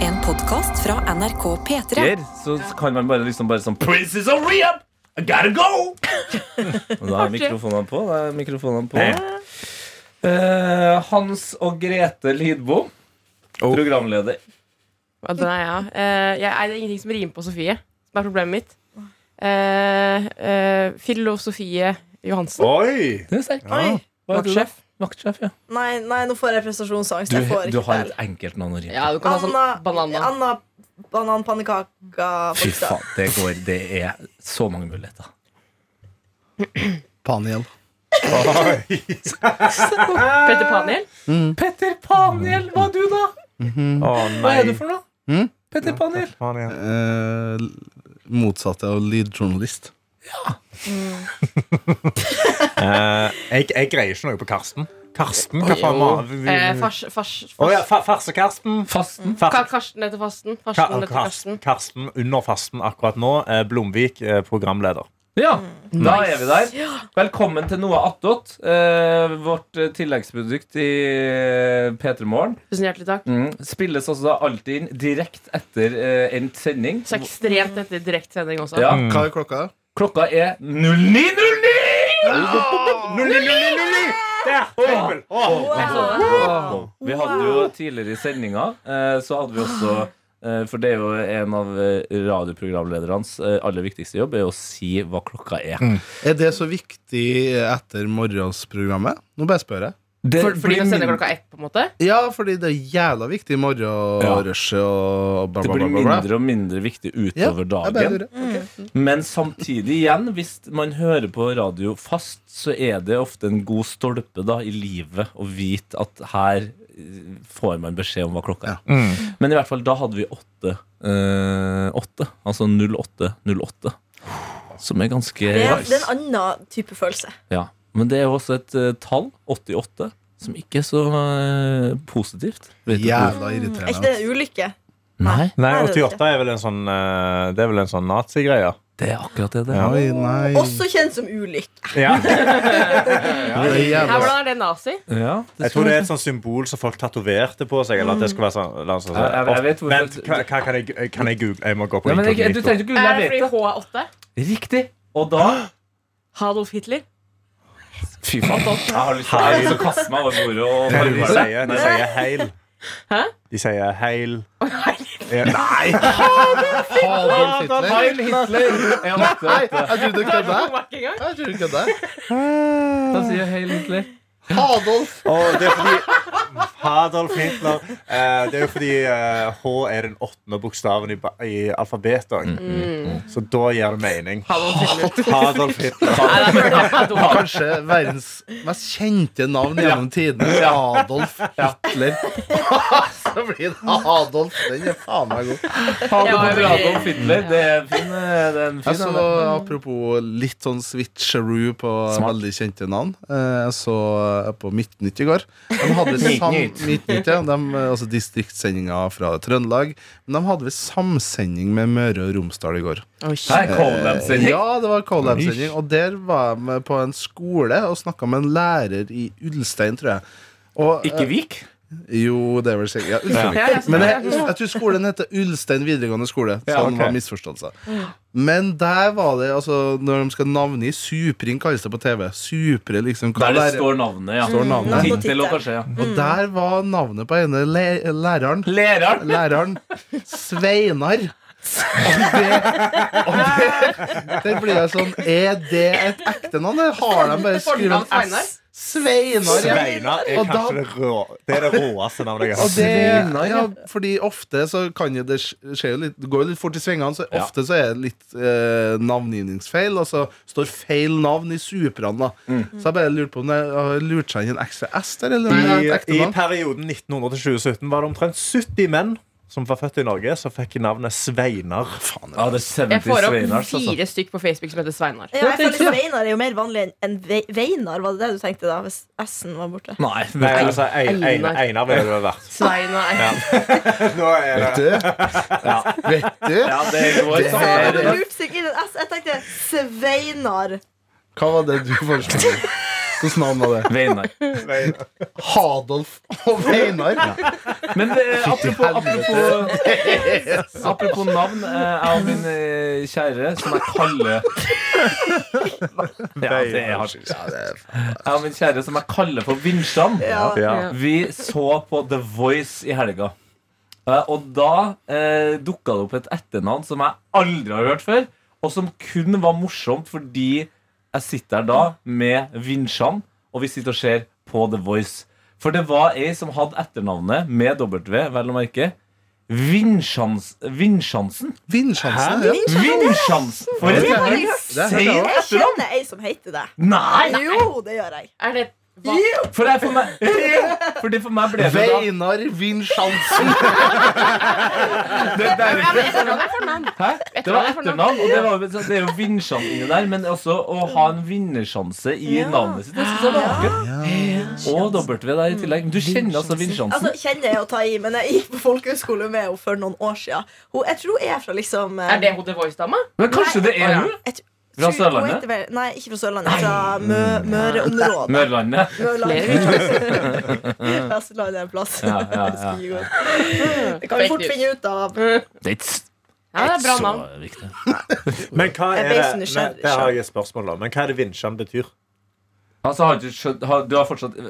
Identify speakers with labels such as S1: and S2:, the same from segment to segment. S1: En podkast fra NRK P3.
S2: Her, så kan man bare liksom bare sånn Prince is a rehab! I gotta go! Og da er mikrofonene på. Da er mikrofonene på. Eh, Hans og Grete Lidbo,
S3: Oh.
S2: programleder.
S4: Ja, den er jeg, ja. Eh, jeg er det er ingenting som rimer på Sofie, som er problemet mitt. Uh, uh, Filosofie Johansen.
S5: Oi!
S2: Du er sterk.
S3: Oi.
S2: Hva heter du da?
S4: Vaktsjef.
S2: Vaktsjef, ja.
S3: Nei, nei, nå får jeg prestasjonsangst.
S2: Du,
S3: jeg får
S2: du
S3: ikke
S2: har
S3: til.
S2: et enkelt navn å rime
S4: Ja,
S2: på.
S4: du kan ha sånn
S3: Anna-
S4: banana.
S3: Anna bananpannekaka.
S2: Fy faen, det går. Det er så mange muligheter.
S6: Paniel.
S4: Petter Paniel.
S2: Petter Paniel, hva er du, da?
S5: Å
S2: Hva
S5: nei.
S2: er du for noe?
S3: Hm?
S6: Mm?
S2: Petter Paniel.
S5: Faen igjen.
S6: Eh, motsatte av lydjournalist.
S5: Eh, jeg, jeg greier ikke noe på Karsten. Karsten, hva faen var
S4: Eh,
S5: det?
S4: fars, fars, fars,
S5: Å ja, fa- Farse-Karsten.
S2: Fasten.
S5: Farse-
S4: Ka- Karsten heter Fasten. Karsten
S5: Ka-
S4: heter Karsten.
S5: Karsten, Karsten under fasten akkurat nå. Eh, Blomvik, eh, programleder.
S2: Ja, da er vi der. Velkommen til Noe attåt. eh, vårt eh, tilleggsprodukt i eh, P3 Morgen.
S4: Tusen hjertelig takk.
S2: Mm. Spilles også da alltid inn direkte etter eh, endt sending.
S4: Så ekstremt etter direktsending også.
S2: Ja.
S5: Mm.
S6: Hva er klokka?
S2: Klokka er 09.09!
S5: Der! Trippel!
S4: Jeg så det.
S2: Altså, Vi hadde jo tidligere i sendinga, eh, så hadde vi også eh, For det er jo en av eh, radioprogramledernes eh, aller viktigste jobb, er å si hva klokka er.
S6: Er det så viktig etter morgensprogrammet? Nå bare spør jeg.
S2: Det
S4: For,
S2: blir
S4: fordi vi sender
S2: min-
S4: klokka ett, på en måte.
S6: Ja, fordi det er jævla viktig i morgenrushet og bla,
S2: det
S6: bla, bla.
S2: blir
S6: bla, bla.
S2: mindre og mindre viktig
S6: Ja,
S2: utover
S6: jeg bare
S2: dagen.
S6: lurer.
S2: Men samtidig igjen, hvis man hører på radio fast, så er det ofte en god stolpe da i livet å vite at her eh, får man beskjed om hva klokka er.
S5: Mm.
S2: Men i hvert fall da hadde vi åtte. Eh, åtte altså 0808. Som er ganske
S3: Det er, det er
S2: nice.
S3: en annen type følelse.
S2: Ja. Men det er jo også et eh, tall, 88, som ikke er så eh, positivt. Vet du hvorfor?
S6: Jævla
S3: Er ikke det
S6: irriterende.
S3: en ulykke?
S2: Nei,
S5: Nei,
S3: Nei, det er det
S5: 88 er vel en sånn eh, Det er vel en sånn nazigreie.
S2: det er akkurat det det er.
S5: Ja.
S6: Oi, nei.
S3: Også kjent som ulykke.
S5: Ja.
S6: Det er
S4: Her,
S6: jævla
S4: hvordan er det nazi?
S2: Ja,
S5: Jeg tror det er et sånt symbol som folk tatoverte på seg. Eller at det skal være sånn, la oss sånn,
S2: Jeg- jeg- jeg vet hvorfor-
S5: Vent, hva, hva kan, jeg, kan jeg google? Jeg må gå på
S2: ja, men jeg, du
S5: inkognito.
S2: tenkte ikke
S4: Er
S2: jeg
S4: det fordi
S2: vet
S4: H er åtte?
S2: det. Riktig. Og da
S4: Adolf Hitler?
S2: Fy faen. Jeg har lyst til jeg har lyst til å kaste meg over bordet og
S5: Nei, De
S2: farge meg.
S5: sier, de sier heil.
S4: Hæ?
S5: De sier heil.
S6: Adolf Hitler.
S2: Heil Hitler! Ja,
S6: Nei, jeg trodde du kødda.
S4: Det var ikke engang.
S6: Jeg trodde du kødda.
S2: Da sier jeg Heil Hitler.
S6: Adolf.
S5: Og det er fordi Adolf Hitler eh, Det er jo fordi eh, H er den åttende bokstaven i, ba- i alfabetet. også.
S6: Mm.
S5: Så da gir det mening.
S4: Adolf Hitler.
S5: Adolf Hitler.
S4: Nei, da føler jeg meg dum.
S6: Kanskje verdens mest kjente navn gjennom tidene. Adolf Hitler. Så blir det Adolf. Den er faen meg god.
S4: Jeg var
S2: Adolf
S4: veldig-
S2: Hitler. Det er en fin, eh, det er en
S6: Jeg
S2: fin
S6: så,
S2: den der.
S6: apropos litt sånn switcheroo på
S2: Smart.
S6: veldig kjente navn. eh, Jeg så eh, på Midtnytt i går. De hadde sam
S2: Midtnytt.
S6: Midtnytt, ja. De, eh, altså distriktssendinga fra Trøndelag. Men de hadde vel samsending med Møre og Romsdal i går.
S4: Oi, shit.
S2: Her kom de sin
S6: eh, Ja, det var collab-sending. Og der var jeg med på en skole og snakka med en lærer i Ulstein, tror jeg. Og,
S2: Ikke Vik?
S6: Jo, det er vel sikkert ja, Ulsteinvik.
S4: Ja, jeg så
S6: Men
S4: det.
S6: jeg, jeg tror skolen heter Ulstein videregående skole. Sånn
S5: Ja, ok.
S6: var misforståelsen. Men der var det altså Når de skal navngi Supring, kalles det på TV. Supre, liksom. Hva
S2: Der det
S6: lærer-
S2: står navnet, ja.
S6: står navnet.
S3: Mm.
S2: Tittel og kanskje, ja.
S6: Og der var navnet på ene læ- læreren.
S2: Læreren.
S6: Læreren Sveinar. Og det, og det, det blir jeg sånn Er det et ekte navn, eller har de bare skrevet en
S4: Fornavn
S6: S? Sveinar. ja.
S5: Sveinar er
S6: Og da-
S5: kanskje det, rå, det, er det råeste navnet jeg har
S6: Og
S5: hørt.
S6: det, ja, fordi ofte så kan jo det sk- skje jo litt Det går jo litt fort i svingene, så
S2: Ja.
S6: ofte så er det litt eh, navngivningsfeil, og så står feil navn i superne, da. Så jeg bare lurte på om det har lurt seg inn en ekstra S der, eller om det er et ekte
S5: I, I
S6: navn.
S5: perioden 1900 til 2017 var det omtrent 70 menn som var født i Norge, som fikk navnet Sveinar.
S2: Ja, det er
S4: Jeg
S2: 70
S4: får opp
S2: Sveinars, altså.
S4: fire stykk på Facebook som heter Sveinar.
S3: Ja, jeg føler Sveinar er jo mer vanlig enn- enn Ve- Veinar, var det det du tenkte da? Hvis S-en var borte.
S2: Nei,
S5: Nei,
S2: vet du.
S5: altså, Ein- Ein-
S4: Einar.
S5: Einar ville det vært.
S4: Sveinar.
S5: Nå er det
S2: Ja.
S6: Vet du?
S2: ja, det går
S6: Det er-
S2: sånn.
S3: Lurt seg inn en S. Jeg tenkte Sveinar.
S6: Hva var det du foreslo? Hvilket navn var det?
S2: Veinar.
S6: Hadolf og Veinar.
S2: Men eh, apropos, apropos, apropos navn. eh, Jeg og min eh, kjære, som jeg kaller Ja, det er hardt. Jeg og min kjære, som jeg kaller for Vinsjan.
S5: Ja.
S2: Vi så på The Voice i helga. Eh, Og da eh, dukka det opp et etternavn som jeg aldri har hørt før, og som kun var morsomt fordi jeg sitter her da med Vinsjan, og vi sitter og ser på The Voice. For det var ei som hadde etternavnet med W, vel å merke. Vinsjans, Vinsjansen?
S6: Vindsjansen. Ja.
S2: Vinsjansen! For et
S3: Det har jeg hørt.
S2: insane
S3: Jeg
S2: etternavn!
S3: kjenner ei som heter det.
S2: Nei!
S3: Jo, det gjør jeg.
S4: Er det hva?
S2: For det er for meg, for det for meg ble det da
S6: Veinar Vindsjansen.
S2: Det er derfor-
S4: Ja, men etternavn er fornavn.
S2: Hæ? Det var
S4: Etternavn er
S2: etternavn, og det, var, jo- det er jo vinnersjanse inni der. Men også å ha en vinnersjanse i navnet sitt. Det synes jeg var vakkert. Og W der i tillegg. Men du kjenner altså
S3: Altså,
S2: vinnersjansen.
S3: kjenner jeg å ta i, men jeg gikk på folkehøyskole med henne for noen år siden. Hun, jeg tror hun er fra liksom eh,
S4: Er det hun The Voice-dama?
S2: Men kanskje det er hun?
S3: jeg tr-
S2: Fra
S3: tror- hun
S2: Sørlandet?
S3: heter vel- Nei, ikke fra Sørlandet. Fra Mø Møreområdet.
S2: Mørlandet.
S3: Mørland. Vestlandet er en plass.
S2: Ja, ja, ja.
S3: Skulle gå. Det kan vi fort finne ut av.
S2: Det er ikke s-
S4: Mm. Ja, det er bra
S2: så
S4: navn.
S2: viktig.
S5: Men hva
S4: sånn
S5: er det
S3: Jeg ble så
S5: Nei,
S3: nysgjerrig
S5: Det har jeg et spørsmål om. Men hva er det vinsjan betyr?
S2: Altså, har du, ikke skjønt, har, du har fortsatt eh,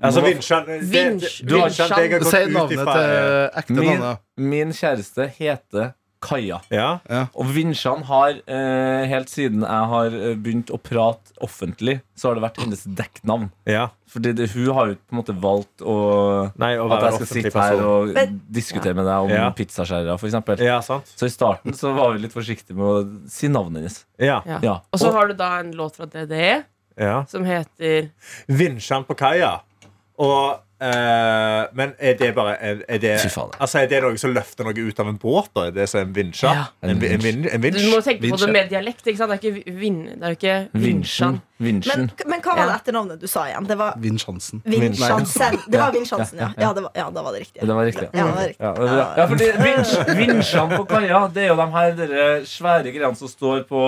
S5: Altså
S2: Nå-
S5: vinsjan det-
S4: Vinsj-
S5: det- det-
S4: vinsjan.
S5: vinsjan, det jeg har gått
S6: Si
S5: ut
S6: navnet
S5: ifra,
S6: til
S5: er-
S6: ekte
S2: min,
S6: navnet.
S2: min kjæreste heter Kaja.
S5: Ja.
S2: Og Vinsjan har, eh, helt siden jeg har eh, begynt å prate offentlig, så har det vært hennes dekknavn.
S5: ja.
S2: Fordi det, hun har jo på en måte valgt å
S5: Nei, å
S2: At jeg
S5: være
S2: skal
S5: offentlig
S2: sitte her
S5: person.
S2: og
S3: Men-
S2: diskutere med deg om
S5: Ja.
S2: pizzaskjærere, for eksempel.
S5: Ja, sant?
S2: Så i starten så var vi litt forsiktige med å si navnet hennes.
S5: Ja.
S4: Ja.
S2: Ja.
S4: Og så har du da en låt fra DDE
S5: ja.
S4: som heter
S5: Vinsjan på kaia. Og eh, Men er det bare er, er, det,
S2: Fy faen.
S5: altså, er det noe som løfter noe ut av en båt? Da? Er det som en vinsja?
S4: Ja.
S5: En, vi- en, vin- en
S4: Du
S5: vinsj?
S4: må tenke på
S2: Vinsj.
S4: det med dialekt. ikke sant? Det er ikke, vin, det er jo ikke
S2: Vinsjen.
S4: Vinsjan.
S2: Vinsjen.
S3: Men, men hva var det etternavnet du sa igjen? Det var
S6: Vindsjansen.
S3: Vinsjansen. Det var Vinsjansen, ja. Ja, det var, ja, da var det riktig.
S2: Ja, det var riktig.
S3: Ja, det var riktig.
S2: Ja, det er bra. ja fordi vins, vinsjene på kaia, det er jo de her dere svære greiene som står på,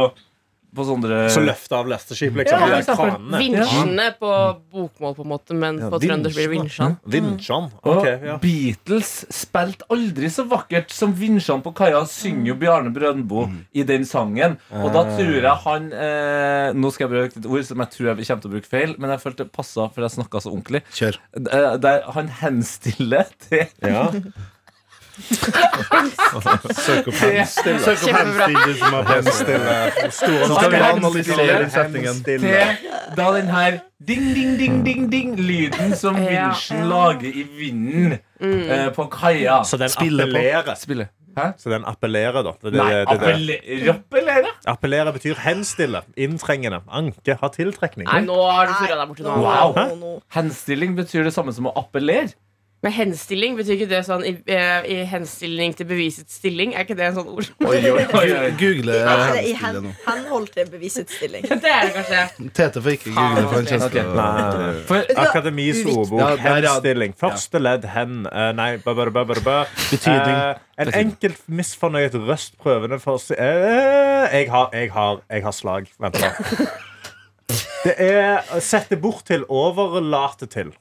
S2: på sånn sånne
S5: Som løfter av lasteskip, liksom?
S4: Ja,
S5: de
S4: for
S5: der
S4: eksempel
S5: kranene.
S4: Vinsjene på bokmål, på en måte, men
S5: Ja,
S4: på trøndersk blir det
S5: vinsjan.
S4: vinsjan.
S5: Vinsjan.
S4: Mm.
S2: Og
S5: Ok, ja.
S2: Beatles spilte aldri så vakkert som Vinsjan på kaia, synger jo Bjarne Brøndbo
S5: Mm.
S2: i den sangen. Og da tror jeg han eh, Nå skal jeg bruke et ord som jeg tror jeg kommer til å bruke feil, men jeg følte det passa, for jeg snakka så ordentlig.
S6: Kjør.
S2: Eh, Der han henstiller til
S5: ja.
S6: Søk opp henstil. Søk opp henstil, du som har henstil. Så skal vi analysere settingen.
S2: til da den her ding-ding-ding-ding-ding-lyden som
S4: Ja.
S2: vinsjen lager i vinden eh, på kaia.
S5: Så den
S6: Spille på.
S5: appellerer.
S2: Spille. Hæ?
S5: Så den appellerer, da. Det, er det,
S2: Nei,
S5: det, er det.
S2: appelle- rappellere?
S5: Appellere betyr henstille, inntrengende, anke, ha tiltrekning.
S4: Nei, nå har du
S3: Nei,
S4: surra deg borti
S3: nå-
S4: noe. annet.
S2: Wow.
S3: nå- nå-
S2: Henstilling betyr det samme som å appellere.
S4: Men henstilling, betyr ikke det sånn i, eh, i henstilling til bevisets stilling? Er ikke det en sånn ord?
S2: Oi, oi, oi, oi.
S6: Google eh,
S3: Er det i
S6: henstil
S3: hen,
S6: nå.
S3: henhold til bevisutstilling.
S4: Det er det kanskje.
S6: Tete får ikke google for
S2: Ok.
S6: en kjensle.
S5: Nei.
S2: For
S5: Akademis ordbok.
S6: Ja, der, ja.
S5: Henstilling. Første ledd hen. eh, Nei, ba, ba, ba, ba, ba.
S6: Betydning.
S5: Eh, en enkelt misfornøyd røst prøvende for å si eh, jeg, har, jeg, har, jeg har slag. Vent, da. Det er sette bort til, overlate til.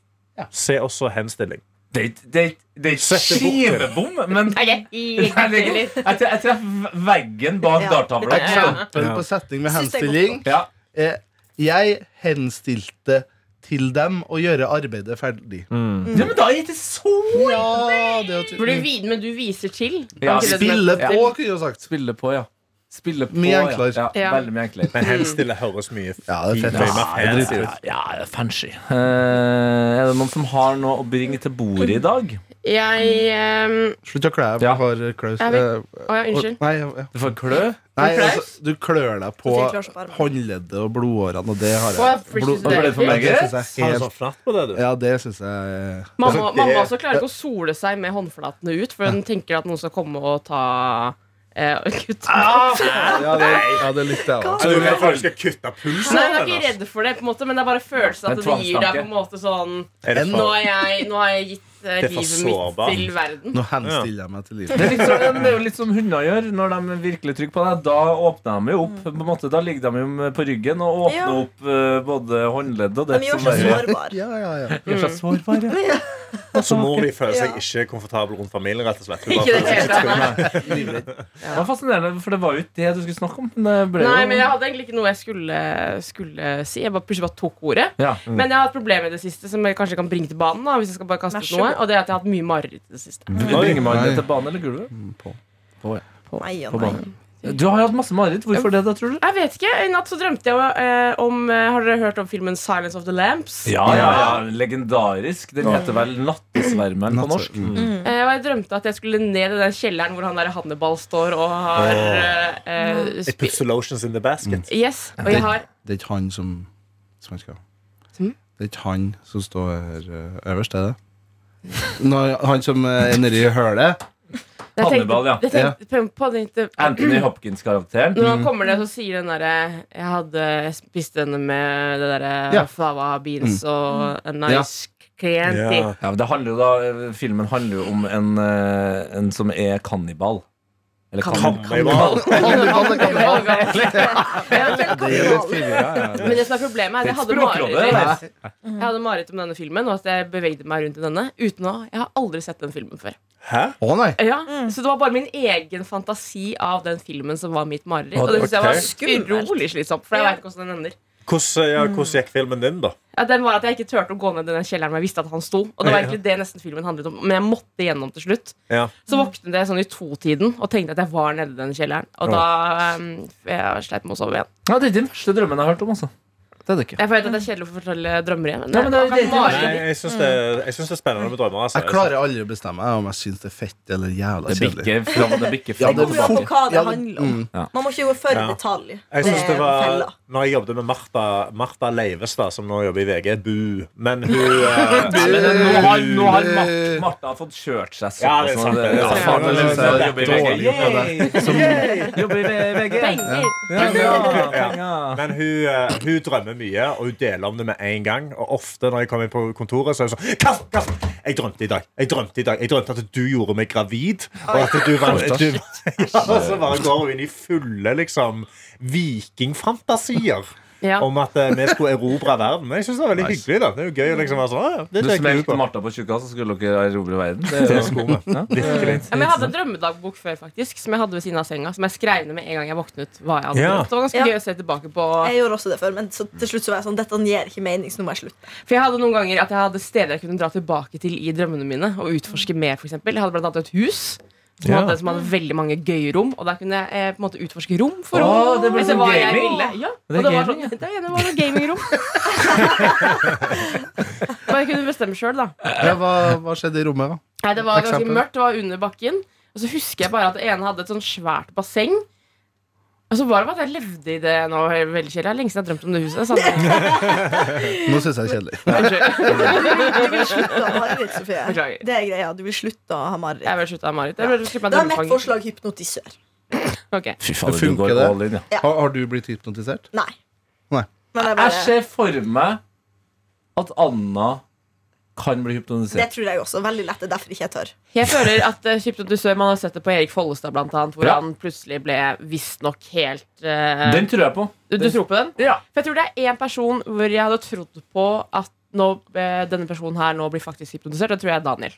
S5: Se også henstilling.
S2: det er ikke- det er ikke- det er ikke
S5: Sette bort til.
S2: skivebom, men
S4: Nei,
S2: jeg,
S4: jeg, jeg, jeg,
S2: jeg, jeg treffer veggen bak
S3: Ja.
S2: darttavla. ikke sant?
S6: Eksempel på setning med
S3: Synes det er godt
S6: henstilling
S2: Ja.
S6: er Jeg henstilte til dem å gjøre arbeidet ferdig.
S2: ja, men da er det ikke så
S6: Ja, det er jo
S4: For du, vi- men du viser til.
S2: Ja.
S4: Kan ikke det som
S6: Spille
S4: heter-
S6: på, kunne jeg sagt.
S2: Spille på, ja. Spille på,
S6: Mye enklere.
S2: Ja. Ja,
S4: Ja.
S2: veldig mye enklere.
S5: Men henstille høres mye
S6: Ja, det
S5: mye
S6: er fett.
S5: mer fancy ut.
S2: det er fancy. Eh, er det noen som har noe å bringe til bordet i dag?
S4: Jeg ehm,
S6: Slutt å klø deg
S2: Ja.
S6: på har Klaus.
S4: Jeg vil-
S6: eh,
S4: Å ja, unnskyld.
S6: Nei, ja.
S2: Du får klø.
S6: nei
S4: Klaus?
S6: altså, du klør deg på
S3: Jeg klør seg på armen.
S6: håndleddet og blodårene, og det har
S4: Å, jeg
S6: jeg.
S4: frystes
S6: Blod-
S4: det
S2: Ble det for
S6: Ja,
S2: meg?
S6: det synes jeg
S5: Har
S6: er
S5: du sånn
S6: helt
S5: fnatt på det, du?
S6: Ja, det syns jeg
S4: Mamma,
S5: Altså, det-
S4: mamma også klarer ikke å sole seg med håndflatene ut, for hun tenker at noen skal komme og ta eh, kutt.
S5: Ah,
S6: Ja, det, ja, det er litt det, da.
S5: Så du vil at du skal kutte pulsen? altså.
S4: Nei, jeg er
S5: eller?
S4: ikke redd for det, på en måte men det er bare følelsen at
S2: Det
S4: det
S2: er
S4: gir deg på
S2: tvangstanke.
S4: en måte sånn
S5: Er det
S6: En
S5: for-
S4: Nå har jeg, nå har jeg gitt eh,
S5: Det er for
S4: livet mitt
S5: sårbart.
S4: til verden.
S6: Nå henstiller jeg meg til
S2: Det
S6: livet.
S2: er, litt sånn, det er jo litt som hunder gjør når de er virkelig trygge på deg. Da åpner de jo opp. På en måte, da ligger de jo på ryggen og åpner
S3: Ja.
S2: opp eh, både håndledd og det
S3: De gjør
S2: som
S3: seg
S2: er
S3: sårbar
S6: Ja, ja, ja.
S2: Gjør seg sårbare.
S5: Og så må de føle
S3: Ja.
S5: seg ikke komfortable rundt familien, rett og slett. Hun
S4: Ikke
S5: bare
S4: det
S5: føler seg
S4: hele tatt.
S2: Det var fascinerende, for det var jo ikke det du skulle snakke om. Men det ble
S4: Nei,
S2: jo
S4: men jeg hadde egentlig ikke noe jeg skulle, skulle si. Jeg bare plutselig bare tok ordet.
S2: ja.
S4: Men jeg har hatt problemer i det siste som jeg kanskje kan bringe til banen. da, hvis jeg skal bare kaste
S3: Vær
S4: ut
S3: så
S4: noe
S3: god.
S4: Og det er at jeg har hatt mye mareritt i det siste.
S2: Bringer man det
S6: Nei.
S2: til banen eller gulvet?
S3: Nei og
S2: På
S3: nei.
S2: banen. Du har hatt masse mareritt. Hvorfor det, da, tror du?
S4: Jeg vet ikke, I natt så drømte jeg eh, om eh, Har dere hørt om filmen 'Silence of the Lamps'?
S2: Ja, ja, ja, legendarisk. Den heter vel 'Nattesvermeren' på norsk.
S6: Mm.
S4: Eh, og jeg drømte at jeg skulle ned i den kjelleren hvor han der Hannibal står og har eh, eh,
S5: It
S4: spi-
S5: puts the lotions in the basket.
S4: Yes, og jeg har
S6: Det er ikke han som, som han skal
S4: Som?
S6: Det er ikke han som står eh, øverst, er det? Når, han som eh, er nedi hølet?
S4: jeg tenkte-
S2: Hannibal, ja.
S4: Jeg tenkte, på, på, tenkte-
S2: Anthony Hopkins-karakteren.
S4: Når han kommer ned, så sier den derre Jeg hadde spist denne med det derre
S6: Ja.
S4: fava beans og a nice clienti.
S5: Ja.
S2: Ja, men det handler jo da, eh, Filmen handler jo om en, eh, en som er kannibal. Eller kannibal.
S5: Kannibal.
S6: Hannibal, det kan
S4: Ja,
S3: Eventuelt
S6: Det er litt
S3: kannibal.
S6: tidligere, ja, ja.
S4: Men det som er problemet, er at jeg hadde
S2: Språkrådet,
S4: mareritt.
S2: eller?
S4: Jeg hadde mareritt om denne filmen, og at jeg bevegde meg rundt i denne uten å Jeg har aldri sett den filmen før.
S5: Hæ?
S6: Å nei!
S4: Ja,
S3: Mm.
S4: Så det var bare min egen fantasi av den filmen som var mitt mareritt. Og det synes jeg var
S3: Skummelt.
S4: utrolig slitsomt, for jeg vet ikke hvordan den ender.
S5: Hvordan, ja, hvordan gikk filmen din, da?
S4: Ja, den var at jeg ikke turte å gå ned i den kjelleren hvor jeg visste at han sto. Og det var egentlig det nesten filmen handlet om, men jeg måtte gjennom til slutt.
S5: Ja.
S4: Så
S3: Mm.
S4: våknet jeg sånn i to-tiden og tenkte at jeg var nede i den kjelleren. Og da um, jeg sleit med å sove igjen.
S2: Ja, det er den første drømmen jeg har hørt om, altså. Det er det ikke.
S4: Jeg vet at det er kjedelig å fortelle drømmer igjen. Men,
S2: Ja, men det er jo
S4: akkurat
S2: det-
S4: mareritt-
S5: Nei, jeg syns det, jeg synes det er spennende med drømmer. Altså.
S6: Jeg klarer aldri å bestemme meg om jeg syns det er fett eller jævla
S2: Det
S6: kjedelig.
S2: bikker fram det bikker
S6: Ja,
S2: fram
S6: det
S2: og
S3: Kommer jo an på
S2: tilbake.
S3: hva
S6: Ja,
S3: det
S6: det-
S3: handler om.
S2: Ja.
S3: Man må ikke gå for i
S5: Ja.
S3: detalj.
S5: Jeg synes det
S3: er
S5: var,
S3: fella.
S5: når jeg jobbet med Martha, Martha Leivestad, som nå jobber i VG Bu. Men hun eh,
S2: Ja, men det- nå har, nå har Mar- Martha fått kjørt seg sånn.
S5: Ja, det er sant, det er sant.
S2: faen, det synes jeg jobber i VG.
S6: Dårlig
S2: Yay!
S6: på
S2: Yay! Jobber i VG.
S4: Penger!
S2: Ja, bra, penger.
S5: Men hun, eh, hun drømmer mye, og hun deler om det med en gang. Og ofte når jeg kommer inn på kontoret, så er hun sånn Karsten, Karsten, jeg drømte i dag. Jeg drømte i dag Jeg drømte at du gjorde meg gravid. Og at du var du, ja, Og så bare går hun inn i fulle liksom vikingfantasier.
S4: Ja.
S5: Om at eh, vi skulle erobre verden. Men Jeg synes det er veldig
S6: Nice.
S5: hyggelig. da Det er jo gøy å liksom være sånn «Å, ja, det
S2: Du
S5: tenker jeg
S2: smelte
S5: på».
S2: Martha på tjukka, så skulle dere erobre verden. Det er
S5: Det
S2: jo-
S5: skulle vi.
S2: Ja.
S5: Virkelig.
S4: Ja, men jeg hadde en drømmedagbok før, faktisk, som jeg hadde ved siden av senga. Som jeg skrev ned med en gang jeg våknet. hva jeg hadde
S5: Ja.
S4: drømt. Det var ganske
S3: Ja.
S4: gøy å se tilbake på.
S3: Jeg gjorde også det før, men så til slutt så var jeg sånn Dette gir ikke mening, så nå må jeg slutte.
S4: For jeg hadde noen ganger at jeg hadde steder jeg kunne dra tilbake til i drømmene mine og utforske mer, for eksempel. Jeg hadde blant annet et hus. Som,
S5: Ja.
S4: hadde, som hadde veldig mange gøye rom, og der kunne jeg eh, på en måte utforske rom for rom.
S2: Å, det ble
S4: etter
S2: sånn
S4: hva jeg
S2: gaming.
S4: ville. Ja,
S2: Det er
S4: og det var
S2: gaming,
S4: sånn, det ene var noe gamingrom. Men jeg kunne bestemme sjøl, da.
S6: Ja, hva, hva skjedde i rommet, da?
S4: Nei, det var ganske
S6: Eksempel.
S4: mørkt, det var under bakken. Og så husker jeg bare at det ene hadde et sånn svært basseng. Og så var det bare at jeg levde i det nå veldig kjedelig. Det er lenge siden jeg har drømt om det huset. Så jeg-
S6: Nå syns jeg det er kjedelig.
S4: Unnskyld.
S3: Du vil slutte å ha mareritt, Sofie.
S4: Beklager.
S3: Det er greia. Du vil slutte å ha mareritt.
S4: Jeg vil slutte av Marit. Jeg vil slippe meg
S3: Da er mitt
S4: drømmefanget.
S3: forslag hypnotisør.
S4: Ok.
S2: Fy faen,
S6: Det
S2: du går
S6: funker, det.
S2: all in, ja.
S6: Har, har du blitt hypnotisert?
S3: Nei.
S6: Nei.
S3: Men det, er
S2: Jeg
S3: bare,
S2: ser for meg at Anna kan bli
S3: det
S2: hypnotisert.
S3: tror jeg også. Veldig lett. Det er derfor ikke jeg tør.
S4: Jeg føler at eh, Kjipt at du sør, man har sett det på Erik Follestad, blant annet, hvor
S2: Ja.
S4: han plutselig ble visstnok helt eh,
S2: Den tror jeg på.
S4: du, du tror på den?
S2: Ja.
S4: For jeg tror det er én person hvor jeg hadde trodd på at nå, eh, denne personen her nå blir faktisk hypnotisert. Det tror jeg er Daniel.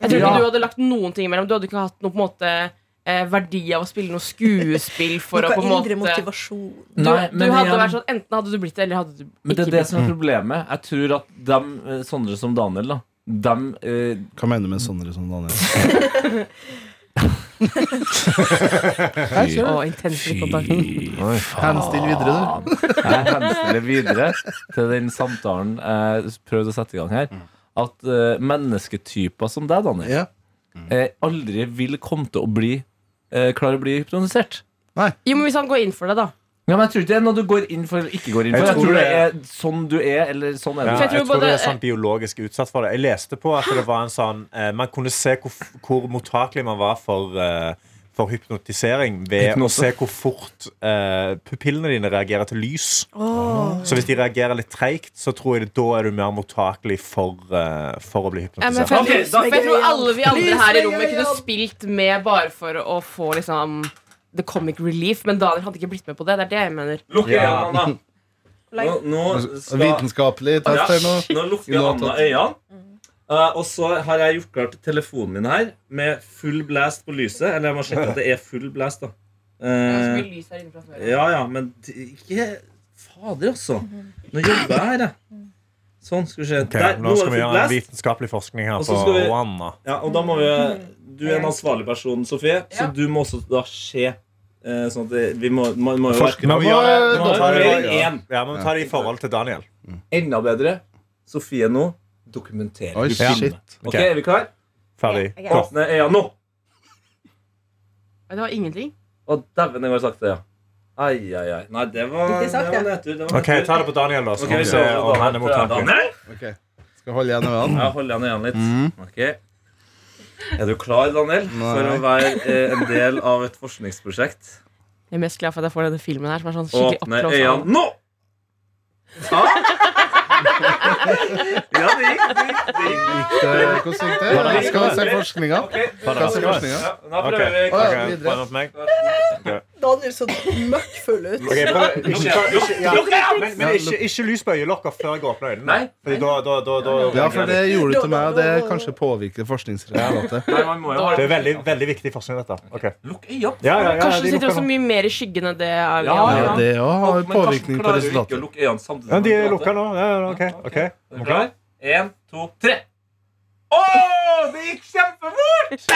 S4: Jeg tror
S2: Ja.
S4: ikke du hadde lagt noen ting imellom. Du hadde ikke hatt noe på en måte eh, verdi av å spille noe skuespill for å
S3: Noe
S4: på en måte
S3: indre motivasjon.
S4: du,
S2: Nei,
S4: du
S2: men
S4: hadde
S2: igjen-
S4: vært sånn, Enten hadde du blitt det, eller hadde du
S2: Men
S4: ikke
S2: det er det
S4: blitt
S2: som er problemet. Jeg tror at dem, eh, sånne som Daniel, da dem, eh,
S6: Hva mener du med sånn eller sånn, Daniel?
S4: det. Og intens blikkontakt.
S6: Henstill videre, du.
S2: Jeg henstiller videre til den samtalen jeg prøvde å sette i gang her.
S5: Mm.
S2: At eh, mennesketyper som deg, Daniel,
S6: Ja.
S2: eh, aldri vil komme til å bli eh, klare å bli hypnotisert.
S4: Jo, men hvis han går inn for det, da.
S2: Ja, men jeg tror ikke det er noe du går inn for eller ikke går inn for.
S5: Jeg
S2: Jeg
S5: tror
S2: tror det
S5: det
S2: er sånn du er, eller sånn er
S5: Ja,
S2: du.
S4: For jeg
S5: jeg
S4: tror
S5: tror
S4: både-
S5: det er sånn biologisk utsatt for det. Jeg leste på at det var en sånn eh, Man kunne se hvor, f- hvor mottakelig man var for, eh, for hypnotisering ved
S2: Hypnose.
S5: å se hvor fort eh, pupillene dine reagerer til lys.
S3: Åh.
S5: Så hvis de reagerer litt treigt, så tror jeg det, da er du mer mottakelig for, eh, for å bli
S4: Ja, men
S5: hypnotisert.
S4: for,
S2: Ok, da-
S4: jeg tror- for jeg tror alle vi andre her i rommet
S3: Lysregel.
S4: kunne spilt med bare for å få liksom the comic relief, men Daniel hadde ikke blitt med på det. Det er det jeg mener.
S2: Lukk
S5: Ja. Altså,
S2: øynene, Anna. Nå, nå skal
S6: Vitenskapelig test
S2: Ja,
S6: her nå.
S2: nå lukker
S6: Nå har
S2: Anna
S6: tatt-
S2: øynene. Eh, og så har jeg gjort klart telefonen min her med full blast på lyset. Eller jeg må sjekke at det er full blast, da. Eh, ja, ja, men det- ikke Fader, altså. Nå jobber jeg her, jeg. Sånn, skal vi se.
S5: Ok,
S2: Der, nå
S5: nå
S2: er
S5: skal
S2: full
S5: vi gjøre en
S2: blast.
S5: vitenskapelig forskning her
S2: Og så
S5: på
S2: skal vi-
S5: Anna.
S2: Ja, og da må vi Du er en ansvarlig person, Sofie, så du må også da se. eh, sånn at det, vi må, man må jo
S5: Først-
S2: være
S5: men vi
S6: Nå,
S5: gjør det-
S6: nå
S2: tar
S5: nå tar
S2: vi
S5: vi-
S2: det.
S5: ja. Ja, men vi tar det i forhold til Daniel.
S2: enda bedre. Sofie nå dokumenterer.
S6: Oi,
S2: Du
S6: shit.
S2: filmer. Ok,
S5: Ok.
S2: Er vi klare?
S5: Ferdig.
S3: Ja, ja.
S5: Gå.
S2: Åpne øynene nå.
S4: Det var ingenting.
S2: Å, dæven, det går sakte, ja. Ai, ai, ai. Nei, det var,
S3: Gikk det
S2: det
S3: sakte?
S2: var nedtur. Det var
S5: OK, ta det på Daniel, da. Så
S2: Ok,
S5: kan vi
S2: så
S5: se
S2: da-
S5: om han er mottakelig.
S2: Daniel?
S6: Ok, Skal holde igjen øynene.
S2: Ja, hold igjen øynene litt. Ok. Er du klar, Daniel, for å
S6: Nei.
S2: være eh, en del av et forskningsprosjekt?
S4: Jeg er mest glad for at jeg får denne filmen her, som er sånn skikkelig
S2: Åpne
S4: oppblåst.
S2: øynene nå! Ja, ja det gikk. Det gikk. Det gikk.
S6: Gikk det? Hvordan gikk det? Ja, Skal vi se forskninga?
S2: Ok,
S6: Skal vi se forskninga?
S2: ja, da prøver vi.
S6: Å, ja,
S5: Ok,
S6: videre.
S5: prøv opp meg.
S3: Daniel så mørkt full ut.
S5: Ok, prøv- ikke-
S2: Lukk øynene.
S5: ikke- ja. Men, men ikke, ikke lys på øyelokka før jeg åpner øynene.
S2: Nei.
S5: Fordi da, da, da, da
S6: Ja, for det gjorde du til meg, og det kanskje påvirker forskningsresultatet.
S2: Nei, man må jo ha
S5: Det er veldig, veldig viktig forskning, dette. Ok.
S2: Lukk øynene.
S5: Ja, ja, ja,
S4: Kanskje
S5: de
S4: du sitter
S5: lukker
S4: også
S5: nå.
S4: mye mer i skyggen enn det er vi
S2: Ja,
S4: andre.
S6: Ja, det òg har
S2: Men Karsten
S6: påvirkning på
S2: klarer jo ikke å
S6: resultatet.
S2: lukke øynene samtidig
S5: Ja,
S2: som
S5: de
S2: han
S5: er
S2: prater.
S5: lukka nå. Ja, ja, ok, ok.
S2: Er du klar? En, to, tre. Å, det gikk kjempefort!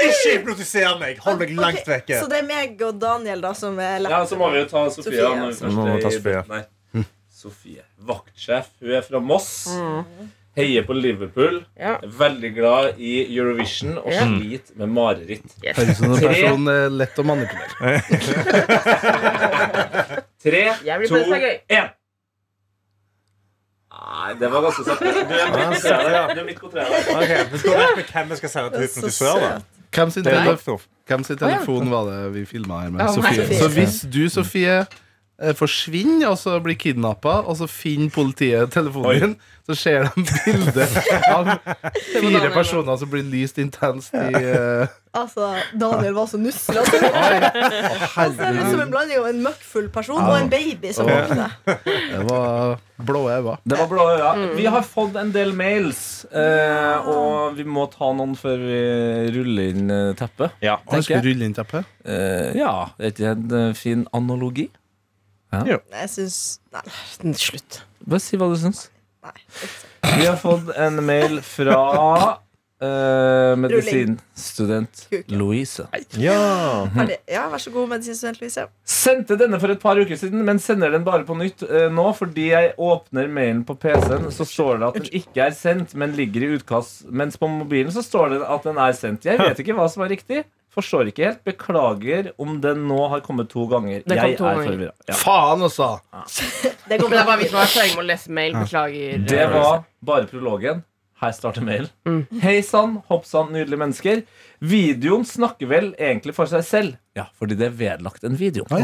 S5: Ikke hypnotiser meg! Hold meg langt
S3: Ok,
S5: vekke.
S3: Så det er meg og Daniel da som er
S2: Ja, så må vi jo ta Sofie. da, når vi
S3: Sofie,
S2: først
S5: Nå må
S2: er
S5: vi ta
S2: i
S5: Sofie.
S2: debatten her. Sofie, vaktsjef. Hun er fra Moss. Heier på Liverpool.
S4: Ja.
S2: er Veldig glad i Eurovision og
S4: Ja.
S2: sliter med mareritt.
S6: Høres ut som en person eh, lett å manipulere.
S2: Tre,
S4: Jeg blir
S2: to,
S4: på det, det
S2: én. Nei, det var ganske sakte. Du er midt på treet. der. Du er midt på treet. der.
S5: Ok, Vi skal vite med hvem vi skal sende til
S3: Det er så
S5: hypnotisør. da.
S6: Hvem sin,
S5: Det er
S6: tele
S5: doktor.
S6: hvem sin telefon var det vi filma her med?
S4: Ja, meg,
S6: Sofie.
S4: Sofie.
S6: Så hvis du, Sofie, eh, forsvinner og så blir kidnappa, og så finner politiet telefonen din, så ser de bilde av fire
S4: Daniel.
S6: personer som blir lyst intenst i eh,
S3: Altså, Daniel var så altså. nusselig.
S6: Å,
S3: Han ser ut som en
S6: herregud.
S3: blanding av en møkkfull person og en baby som
S6: Ja.
S3: våkner.
S6: Det var blå øyne.
S2: Det var blå øyne. Vi har fått en del mails, eh, og vi må ta noen før vi ruller inn eh, teppet.
S5: Ja.
S6: Han
S2: tenker
S6: skulle
S2: jeg.
S6: rulle inn teppet.
S2: Eh, ja, er ikke det en eh, fin analogi?
S3: Nei, Jeg syns Nei.
S4: Nei, Slutt.
S2: Bare si hva du syns.
S3: nei.
S2: Vi har fått en mail fra eh, medisinstudent
S3: Kuken.
S2: Louise.
S3: Ferdig. Ja, vær så god, medisinstudent Louise.
S2: Sendte denne for et par uker siden, men sender den bare på nytt eh, nå. Fordi jeg åpner mailen på PC-en, så står det at den ikke er sendt, men ligger i utkast. Mens på mobilen så står det at den er sendt. Jeg vet ikke hva som er riktig. Forstår ikke helt. Beklager om den nå har kommet to ganger.
S4: Den kom
S2: jeg
S4: to
S2: er
S4: ganger.
S2: forvirra. Ja.
S6: Faen, altså!
S3: Det
S4: Men det er
S3: går bra.
S4: bare vi som har slenge med å lese mail. Beklager.
S2: Det var bare prologen. Her starter mailen.
S4: Mm.
S2: Hei sann, hopp sann, nydelige mennesker. Videoen snakker vel egentlig for seg selv. Ja, fordi det er vedlagt en video.
S3: Å,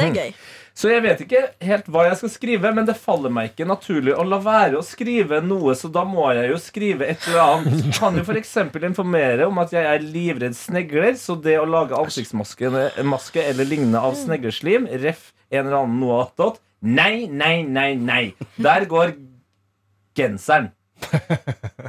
S3: det er gøy.
S2: Så jeg vet ikke helt hva jeg skal skrive, men det faller meg ikke naturlig å la være å skrive noe, så da må jeg jo skrive et eller annet. Kan jo f.eks. informere om at jeg er livredd snegler, så det å lage ansiktsmaske maske eller lignende av snegleslim, ref. en eller annen noe attåt, nei, nei, nei, nei. Der går genseren.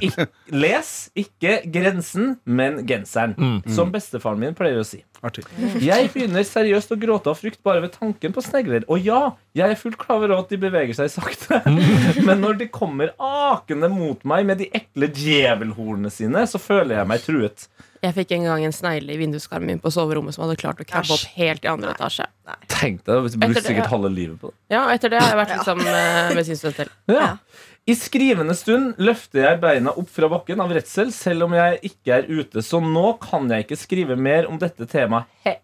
S2: Ik les ikke grensen, men genseren, som bestefaren min pleier å si.
S6: Artig.
S2: Jeg begynner seriøst å gråte av frykt bare ved tanken på snegler. Og ja, jeg er fullt klar over at de beveger seg sakte. Men når de kommer akende mot meg med de ekle djevelhornene sine, så føler jeg meg truet.
S4: Jeg fikk en gang en snegle i vinduskarmen min på soverommet som hadde klart å krabbe opp helt i andre etasje.
S2: Tenk deg, du
S4: Etter det-
S2: brukte sikkert halve livet på det.
S4: Ja, og etter det har jeg vært liksom eh, medisinstudent selv.
S2: Ja. I skrivende stund løfter jeg beina opp fra bakken av redsel, selv om jeg ikke er ute, så nå kan jeg ikke skrive mer om dette temaet. He.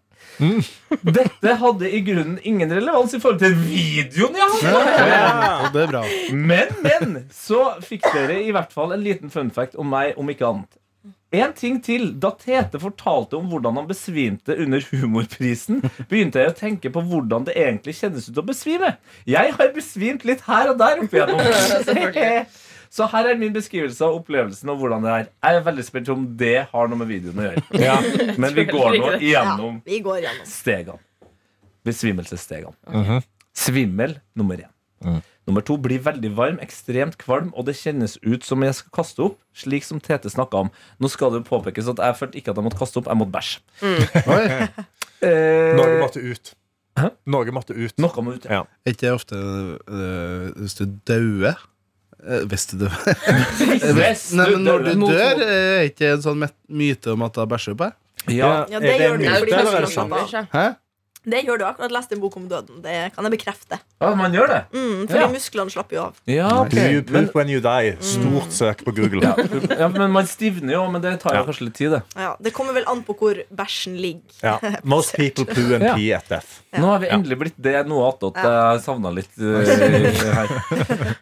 S2: Mm. Dette hadde i grunnen ingen relevans i forhold til videoen jeg hadde.
S6: Og det er bra.
S2: Men, men, så fikk dere i hvert fall en liten fun fact om meg, om ikke annet. En ting til. Da Tete fortalte om hvordan han besvimte under humorprisen, begynte jeg å tenke på hvordan det egentlig kjennes ut å besvime. Jeg har besvimt litt her og der opp igjennom. Så her er min beskrivelse av opplevelsen og hvordan det er. Jeg er veldig spent om det har noe med videoen å gjøre. Men vi går nå igjennom
S3: vi går gjennom.
S2: stegene. Besvimelsesstegene. Svimmel nummer én.
S7: Mm.
S2: Nummer to blir veldig varm, ekstremt kvalm, og det kjennes ut som jeg skal kaste opp. Slik som Tete snakka om. Nå skal det påpekes at jeg følte ikke at jeg måtte kaste opp, jeg måtte bæsje.
S6: Oi,
S5: Norge
S2: Eh,
S5: måtte ut.
S2: Hæ?
S5: Norge måtte ut.
S2: noe må ut. ja.
S5: Ja.
S6: er ikke det ofte øh, hvis du dauer Eh, Hvis du dør
S2: Hvis
S6: Nei, men når du
S2: mot-
S6: dør, eh, er ikke det en sånn met- myte om at da bæsjer du på deg?
S2: Ja.
S3: Ja, det gjør du
S5: en
S3: jo fordi
S5: myte, eller
S3: du
S5: er det sånn?
S3: skal slappe
S2: sånn.
S3: av.
S5: sant?
S6: Hæ?
S3: Det gjør du akkurat lest en bok om døden. Det kan jeg bekrefte.
S2: ja, man gjør det.
S3: Mm, fordi
S2: Ja.
S3: musklene slapper jo av.
S2: Ja, ok.
S5: Do you
S2: men,
S5: poop when you die? Stort søk på Google.
S2: ja, ja, men man stivner jo, men det tar jo
S5: Ja.
S2: kanskje litt tid, det.
S3: Ja, det kommer vel an på hvor bæsjen ligger.
S5: Ja. Most people poo and pee at death.
S2: Nå har vi endelig blitt det noe attåt jeg savna litt eh, her.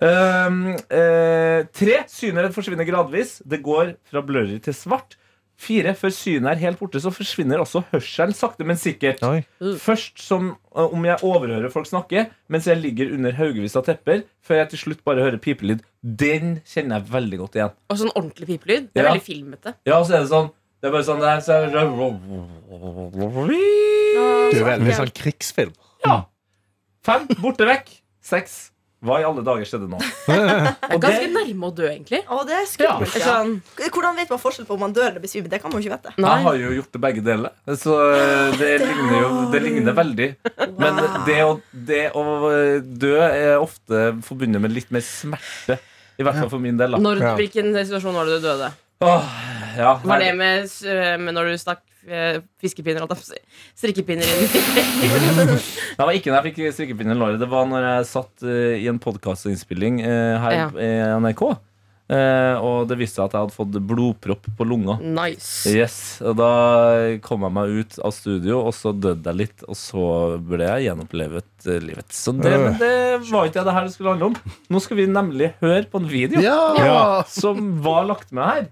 S2: Um, eh, tre. Synet forsvinner gradvis. Det går fra blurry til svart. Fire. Før synet er helt borte, så forsvinner også hørselen sakte, men sikkert.
S7: Oi.
S2: Først som eh, om jeg overhører folk snakke mens jeg ligger under haugevis av tepper, før jeg til slutt bare hører pipelyd. Den kjenner jeg veldig godt igjen.
S4: Og sånn ordentlig pipelyd. Det er
S2: Ja.
S4: veldig filmete.
S2: Ja, og så er det sånn Det er bare sånn der, så er det sånn-
S7: Det er veldig sånn krigsfilm.
S2: Fem. Borte vekk. Seks. Hva i alle dager skjedde nå?
S4: Det er
S2: det-
S4: ganske nærme å dø, egentlig.
S3: Å, det er
S2: Ja.
S3: skummelt. Ja.
S4: Sånn,
S3: Hvordan vet man forskjell på om man dør eller besvimer? Det kan man jo ikke vite.
S2: Jeg
S4: nei.
S2: har jo gjort det begge deler, så eh, det ligner jo det ligner veldig. Men det å, det å eh, dø er ofte forbundet med litt mer smerte. I hvert fall for min del. da
S4: Når, hvilken situasjon var det du døde?
S2: Åh, ja,
S4: Var det
S2: her-
S4: med, s- med når du stakk eh, fiskepinner og strikkepinner inn?
S2: Det var ikke når jeg fikk strikkepinne i låret. Det var når jeg satt eh, i en podkastinnspilling uh, her
S4: Ja.
S2: i NRK, eh, og det viste seg at jeg hadde fått blodpropp på lunga.
S4: Nice.
S2: Yes, og Da kom jeg meg ut av studio, og så døde jeg litt. Og så ble jeg gjenopplevet eh, livet. Så det, men det var ikke det her det skulle handle om. Nå skal vi nemlig høre på en video
S6: Ja!
S5: Ja.
S2: som var lagt med her.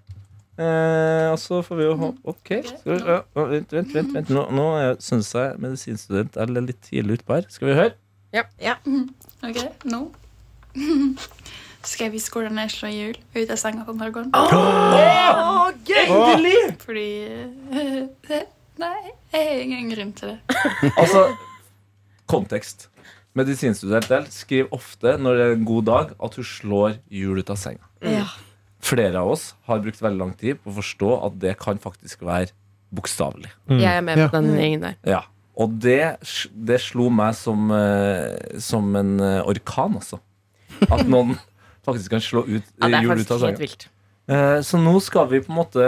S2: Eh, og så får vi jo håpe OK. Skal vi, ja, å, vent, vent, vent. vent. Nå, nå syns jeg medisinstudent er litt tidlig utpå her. Skal vi høre?
S8: Ok, nå skal jeg vise hvordan jeg slår hjul ut av senga på morgenen.
S3: Å, gøy!
S8: Fordi eh, Nei, jeg har ingen grunn til det.
S2: Altså, kontekst. Medisinstudent del skriver ofte når det er en god dag, at hun slår hjul ut av senga.
S4: Mm.
S3: Ja.
S2: Flere av oss har brukt veldig lang tid på å forstå at det kan faktisk være bokstavelig.
S4: Jeg er med
S6: Ja.
S4: på den gjengen der.
S2: Ja. Og det, s- det slo meg som, eh, som en eh, orkan, altså. At noen faktisk kan slå ut,
S4: Ja, det er
S2: hjul ut av
S4: faktisk helt
S2: senga.
S4: vilt.
S2: Eh, Så nå skal vi på en måte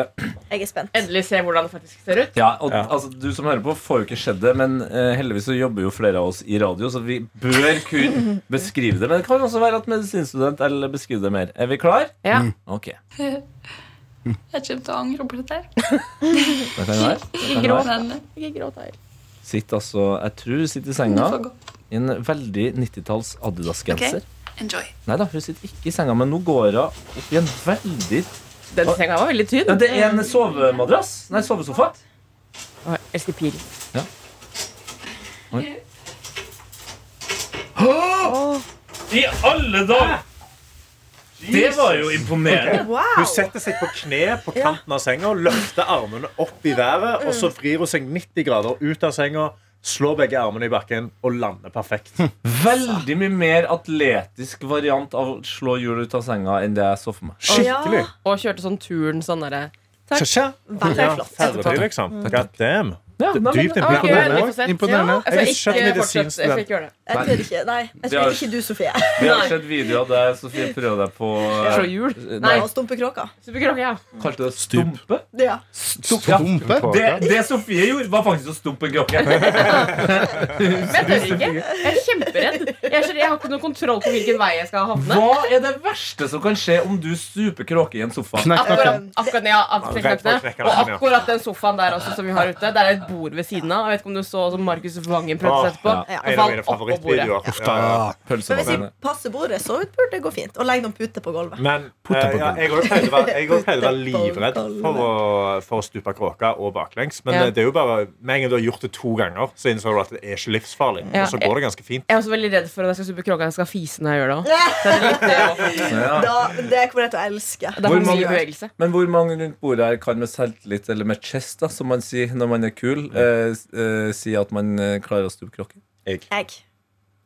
S3: Jeg er spent.
S4: Endelig se hvordan det faktisk ser ut.
S2: Ja, og
S5: Ja.
S2: Altså, Du som hører på, får jo ikke skjedd det, men eh, heldigvis så jobber jo flere av oss i radio, så vi bør kun beskrive det. Men det kan jo også være at medisinstudent eller beskrive det mer. Er vi klar?
S4: Ja.
S2: Ok. Det
S8: Jeg kommer til å angre på dette. her.
S2: kan være. Det kan være.
S8: Men eh,
S2: Sitt altså, jeg tror hun sitter i
S8: det
S2: senga
S8: får gå.
S2: i en veldig 90-talls Adidas-genser.
S8: Enjoy.
S2: Nei da, hun sitter ikke i senga, men nå går hun opp i en veldig
S4: Den senga var veldig tynn.
S2: ja, Det er en sovemadrass. Nei, sovesofa.
S4: Å, jeg elsker pil.
S2: I alle dager! Det var jo imponerende.
S5: Hun
S3: Wow!
S5: setter seg på kne på kanten av senga, løfter armene opp i været, og
S4: Mm.
S5: så vrir hun seg 90 grader ut av senga, slår begge armene i bakken og lander perfekt.
S7: Hm.
S2: Veldig mye mer atletisk variant av å slå hjul ut av senga enn det jeg så for meg.
S5: Skikkelig.
S4: Og kjørte sånn turen sånn derre
S5: Tja, tja.
S3: Veldig
S5: Ja,
S3: flott.
S5: ferdig, liksom.
S4: Mm.
S5: God damn.
S2: Ja, nei, men-
S4: Ok,
S5: Dypt imponerende.
S4: vi
S5: også.
S4: får se.
S6: Imponerende.
S4: Ja, jeg skal
S5: Jeg er
S4: ikke
S5: ikke
S4: fortsette. Jeg skal ikke gjøre det.
S3: Jeg tør ikke. Nei, jeg
S2: Det er-
S3: tror ikke du, Sofie.
S2: Vi har sett videoer der Sofie prøver deg på eh,
S4: Slå hjul.
S2: Nei,
S4: Nei.
S3: Og stumpekråka.
S4: Superkråke, ja.
S2: kalte det stumpe?
S3: Ja.
S2: Stump, ja.
S6: Dumpe?
S2: det, det Sofie gjorde, var faktisk å stumpe en klokke.
S4: Men jeg tør ikke. Jeg er kjemperedd. Jeg, er så redd, jeg har ikke noe kontroll på hvilken vei jeg skal havne.
S2: Hva er det verste som kan skje om du stuper kråke i en sofa?
S6: Knekk
S4: Akkurat,
S6: nakken.
S4: akkurat, ja, akkurat,
S5: redd for å knekke
S4: og
S5: nakken, ja.
S4: akkurat den sofaen der også, som vi har ute, der er et bord ved siden av. Jeg vet ikke om du så som Markus Vangen prøvde seg etterpå.
S2: Åh,
S3: ja.
S4: Og
S5: Ah, En av
S4: falt
S5: mine
S4: opp på bordet.
S5: favorittvideoer. Ja, ja.
S6: Ja.
S3: Men hvis vi
S2: Pølsevannet.
S3: passer bordet, så burde det gå fint. Og legg noen puter på gulvet.
S5: Men
S6: Putte
S5: eh,
S6: på
S5: ja,
S6: gulvet.
S5: jeg også pleide å være, jeg også pleide å være
S3: Putte på
S5: livredd for å, for å stupe kråka og baklengs. Men eh,
S4: Ja.
S5: det, det er jo bare med en gang du har gjort det to ganger, så innså du at det er ikke livsfarlig.
S4: Ja.
S5: Og så går det ganske fint.
S4: Jeg er også veldig redd for at jeg skal stupe kråka. Jeg skal fise når jeg gjør det også.
S3: Da, det kommer jeg til å elske.
S4: Det er
S2: Hvor
S4: for
S2: mange-
S4: mye bevegelse.
S2: Men hvor mange rundt bordet her kan med selvtillit, eller med chest, da, som man sier når man er kul, eh, s- eh, si at man eh, klarer å stupe kråke?
S3: Jeg.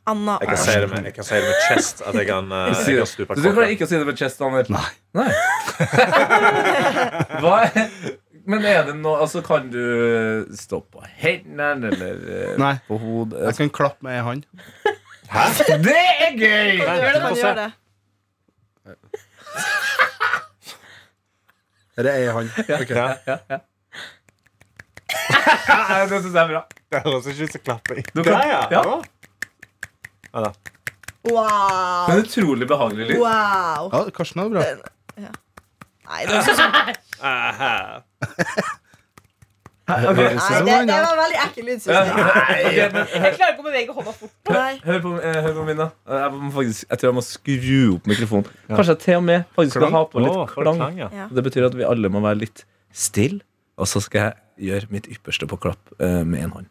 S3: Anna
S5: Jeg kan si det med, jeg kan si det med chest at jeg kan, eh,
S2: Si
S5: jeg
S2: det.
S5: kan stupe
S2: Du klarer
S5: kråka.
S2: ikke å si det med chest, Daniel?
S6: Nei.
S2: Nei. Hva er, men er det noe Altså, kan du stå på hendene, eller eh,
S6: Nei.
S2: på hodet? Altså,
S6: Jeg kan klappe med ei hand.
S2: Det er gøy!
S5: Nei,
S3: Gjør
S5: få
S3: det, man
S5: se.
S3: gjør det.
S6: Eller ei hand. Ok.
S5: Ja,
S2: Ja, det syns jeg er bra.
S5: Det høres ikke ut som klapping.
S2: Du
S5: Der,
S2: kan-
S5: ja.
S2: ja.
S5: Ja.
S2: Det er
S3: Wow.
S2: en utrolig behagelig lyd.
S3: wow.
S6: Ja, Karsten er bra.
S3: Nei, det var, sånn.
S5: Aha.
S6: Høres ut
S3: nei,
S6: som
S3: det,
S6: en
S3: det
S6: hand, ja.
S3: var veldig ekkel
S2: Ja,
S3: lyd, syns jeg.
S2: ok, men
S4: Jeg klarer ikke å bevege hånda fort.
S3: Nei.
S2: Hør på, eh, hør på min, da. Jeg, må faktisk, jeg tror jeg må skru opp mikrofonen. Kanskje jeg til og med faktisk skal ha på
S5: Åh,
S2: litt klang.
S5: ja.
S3: Ja.
S2: Det betyr at vi alle må være litt stille, og så skal jeg gjøre mitt ypperste på klapp eh, med én hånd.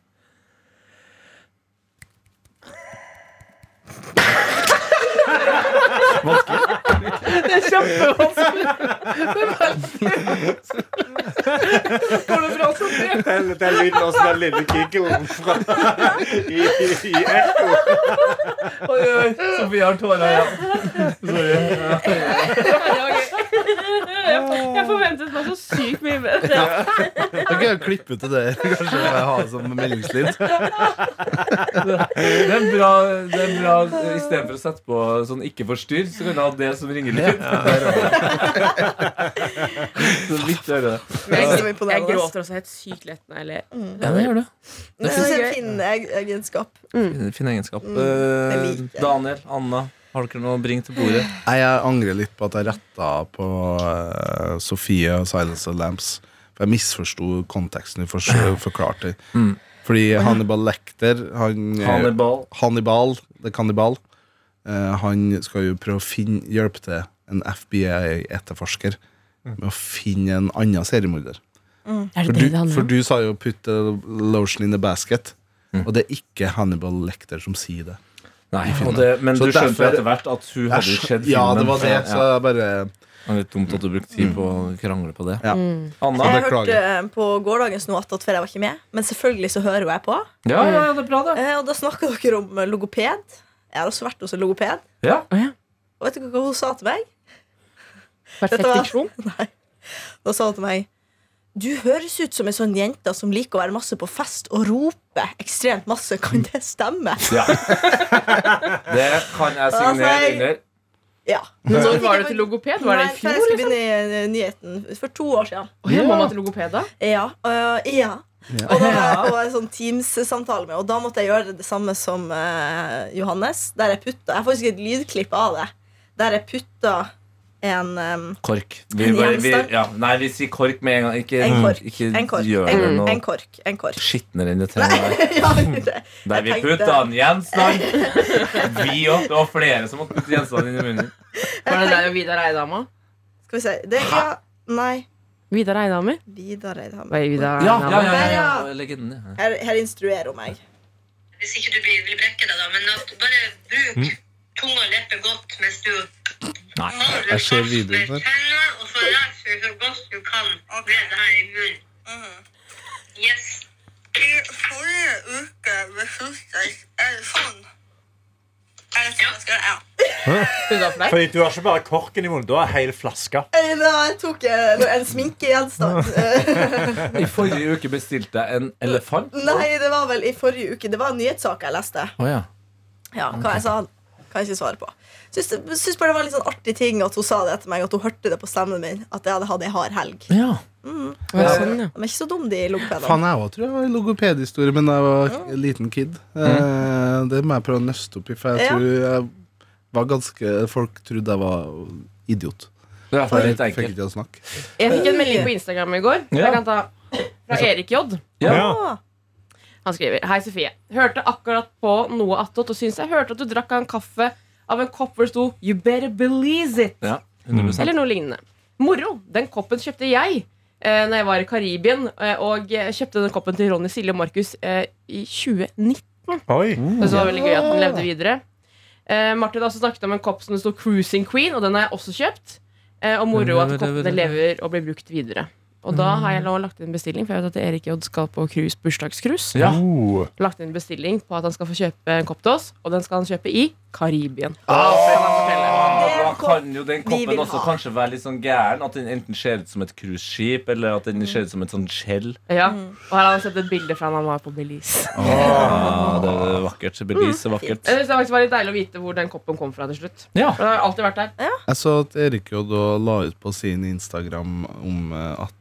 S4: Det er kjempevanskelig. Går det bra, Sondre?
S5: Den, den lyden også, den lille giggelen fra i, i, i ekko.
S2: Oi, oi, Sofie har tårer i øynene. Sorry.
S4: Jeg forventet meg så sykt mye bedre.
S6: Da kan jeg klippe ut det der. Kanskje jeg har det som meldingslyd.
S2: Det er bra, det er bra eh, istedenfor å sette på sånn 'ikke forstyrr', så kan du ha det som ringelyd. Så vidt hører det.
S4: Men jeg,
S3: Det er så
S4: jeg
S3: imponerende.
S4: gråter også helt sykt lett når jeg ler.
S2: Ja, det gjør du.
S3: Det syns jeg er en fin eg- egenskap.
S2: Fin egenskap.
S3: Mm,
S2: Eh,
S3: det liker jeg.
S2: Daniel, Anna, har dere noe å bringe til bordet?
S6: Nei, jeg angrer litt på at jeg retta på eh, Sofie og Silence of the Lamps. For jeg misforsto konteksten du for- forklarte. Fordi Hannibal Lecter han, eh,
S2: Hannibal.
S6: Hannibal, det er kannibal, eh, han skal jo prøve å finne, hjelpe til en FBI-etterforsker
S2: Mm.
S6: med å finne en annen seriemorder.
S4: Er
S6: For du, for du sa jo 'put the lotion in the basket',
S2: Mm.
S6: og det er ikke Hannibal Lecter som sier det.
S2: Nei, og det, men
S6: Så
S2: du skjønte jo
S6: derfor-
S2: etter hvert at hun hadde jo
S6: Jeg skj-
S2: sett filmen.
S6: ja, det var det,
S2: Ja,
S6: så jeg bare
S2: Det er litt dumt at du brukte tid på å krangle på det.
S6: Ja.
S3: Mm.
S2: Anna?
S3: Jeg
S6: beklager.
S3: hørte eh, på gårsdagens noe attåt før jeg var ikke med, men selvfølgelig så hører jo jeg på.
S2: Ja, ja, ja, det er bra, det.
S3: Eh, Og da snakka dere om eh, logoped. Jeg har også vært hos en logoped.
S2: Ja.
S3: Og vet dere hva hun sa til meg?
S4: Perfekt
S3: Dette var-
S4: diksjon.
S3: Da sa hun til meg Du høres ut som en sånn jente som liker å være masse på fest og rope ekstremt masse. Kan det stemme?
S2: ja. Det kan jeg signere under.
S3: Ja.
S4: Når var du til logoped? Var det
S3: Nei,
S4: i
S3: før
S4: fjor?
S3: jeg
S4: Liksom?
S3: skulle begynne i eh, nyheten. For to år siden.
S4: Å, jeg må være til logoped da.
S3: Ja. øh, ja. Og da var jeg på en sånn Teams-samtale med Og da måtte jeg gjøre det samme som eh, Johannes. Der jeg putta Jeg har faktisk et lydklipp av det. Der jeg putta en em,
S2: Kork. Vi
S3: En
S2: bare, vi,
S3: gjenstand.
S2: ja. Nei, vi sier kork med en gang. Ikke,
S3: En kork.
S2: ikke
S3: En kork.
S2: gjør det
S3: En,
S2: noe
S3: en kork. En kork.
S2: skitnere enn det trenger. å være.
S3: ja, det-
S2: Der vi
S3: Jeg tenkte-
S2: putta en gjenstand. Vi òg. Det var flere som måtte putte gjenstand inn i munnen.
S4: Var det deg og Vidar Eidama?
S3: Skal vi se. Det, ja, nei.
S4: Vidar Eidhammer?
S3: Vidar Eidhammer.
S4: Var det Vidar
S2: Ja, ja,
S4: Eidhammer?
S2: ja, ja,
S3: Der,
S2: ja. Legenden, ja.
S3: Her, her instruerer hun meg.
S7: Hvis ikke du blir, vil brekke deg, da. Men at bare bruk tunga og leppe godt mens du
S2: Nei,
S7: maler
S6: jeg ser
S7: fast
S6: videoen her.
S7: med tenna, og så leser du så godt du kan med det her i munnen. Yes. I forrige uke besluttet jeg sånn. Er det sånn jeg skal gjøre? Ja.
S4: Hudda for deg?
S5: Fordi du har ikke bare korken i munnen, du har hele flaska.
S3: Eh, Da jeg tok jeg en sminkegjenstand. Eh,
S2: I forrige uke bestilte jeg en elefant.
S3: Nei, det var vel i forrige uke. Det var en nyhetssak jeg leste.
S2: Å, ja.
S3: Ja, hva jeg sa kan jeg ikke svare på. Syns, syns bare det var en litt sånn artig ting at hun sa det til meg, at hun hørte det på stemmen min. At jeg hadde hatt ei hard helg.
S2: Ja.
S4: Ja, sånn, ja.
S3: De er ikke så dumme, de logopedene.
S6: Faen, jeg òg tror jeg har logopedhistorie, men da jeg var k- liten kid.
S2: Mm.
S6: Eh, det må jeg prøve å nøste opp i, for jeg
S3: Ja.
S6: tror jeg var ganske Folk trodde jeg var idiot.
S2: Det er i hvert
S6: For
S2: fall
S6: jeg
S2: litt
S6: fikk ikke
S2: enkelt.
S6: til å snakke.
S4: Jeg fikk en melding på Instagram i går.
S2: Ja. Altså-
S4: Jeg kan ta fra Erik J.
S2: Ja.
S3: Å,
S4: Han skriver Hei Sofie, hørte akkurat på noe attåt og syns jeg hørte at du drakk av en kaffe av en kopp hvor det sto 'You better believe it'
S2: Ja, 100
S4: eller noe lignende. Moro! Den koppen kjøpte jeg eh, når jeg var i Karibien, eh, og eh, kjøpte den koppen til Ronny, Silje og Markus eh, i 2019.
S5: Oi.
S4: Så det var veldig gøy at den levde videre. Eh, Martin har også snakket om en kopp som det sto 'Cruising Queen', og den har jeg også kjøpt. Eh, og moro at koppene lever og blir brukt videre. Og da har jeg nå lagt inn en bestilling, for jeg vet at Erik J skal på cruise, bursdagscruise
S2: Ja.
S5: Oh.
S4: lagt inn bestilling på at han skal få kjøpe en kopp til oss, og den skal han kjøpe i Karibien. Så kan han fortelle.
S2: Da kan jo den
S3: Vi vil
S2: koppen også
S3: ha.
S2: kanskje være litt sånn gæren. At den enten ser ut som et cruiseskip, eller at den ser ut som et sånn skjell.
S4: Ja, og her har han sett et bilde fra han var på Belize.
S2: Ah, Mm, det er vakkert. Belize er vakkert.
S4: Jeg synes Eh, det faktisk var litt deilig å vite hvor den koppen kom fra til slutt.
S2: Ja.
S4: For den har alltid vært der.
S6: Jeg så at Erik J. da la ut på sin Instagram om eh, at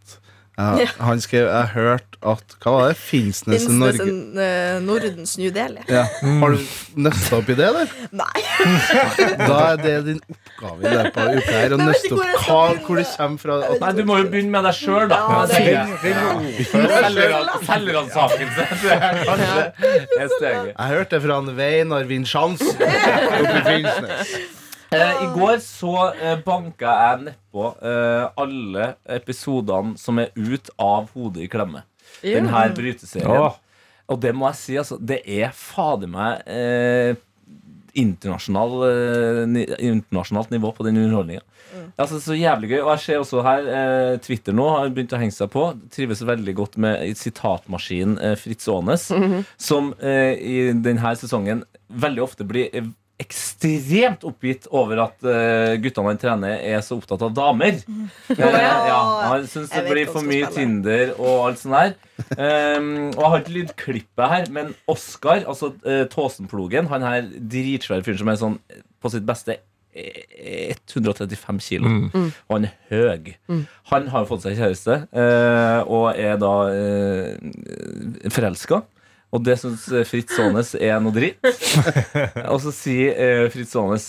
S6: eh, Han skrev Jeg hørte at Hva var det? Finnsnes i
S3: Finnes det
S6: Norge?
S3: en eh, Nordens New Delhi?
S6: Ja. Har du nøsta opp i det, eller?
S3: Nei.
S6: Da er det din oppgave i løpet av uka her
S3: Jeg
S6: å
S3: vet
S6: nøste
S3: ikke
S6: opp hva,
S3: hvor jeg skal
S6: hvor det kommer fra. At
S2: Nei, du må jo begynne med deg sjøl, da.
S3: Ja, det er-
S2: Selgeran- Selgeransakelse. Det er kanskje det steget.
S6: Jeg hørte det fra en Veinar Vinchans oppe i Finnsnes.
S2: Eh, I går så eh, banka jeg nedpå eh, alle episodene som er ut av Hodet i klemme. Den her bryteserien.
S5: Åh.
S2: Og det må jeg si, altså. Det er fader meg eh, internasjonal, eh, ni, internasjonalt nivå på den underholdninga. Altså, så jævlig gøy. Og jeg ser også her eh, Twitter nå har begynt å henge seg på. Trives veldig godt med sitatmaskinen eh, Fritz Aanes, som eh, i denne sesongen veldig ofte blir eh, ekstremt oppgitt over at eh, guttene han trener, er så opptatt av damer. Eh, ja, han syns det
S3: Jeg vet
S2: blir
S3: hva
S2: for
S3: som
S2: mye
S3: spiller.
S2: Tinder og alt sånt her. Ehm, og jeg har ikke lydklippet her, men Oskar, altså eh, Tåsenplogen, han her dritsvære fyren som er sånn eh, på sitt beste eh, 135 kilo, Mm. og han er høy. Han har jo fått seg kjæreste, eh, og er da uh, forelska. Og det syns eh, Fritz Aanes er noe dritt. og så sier eh, Fritz Aanes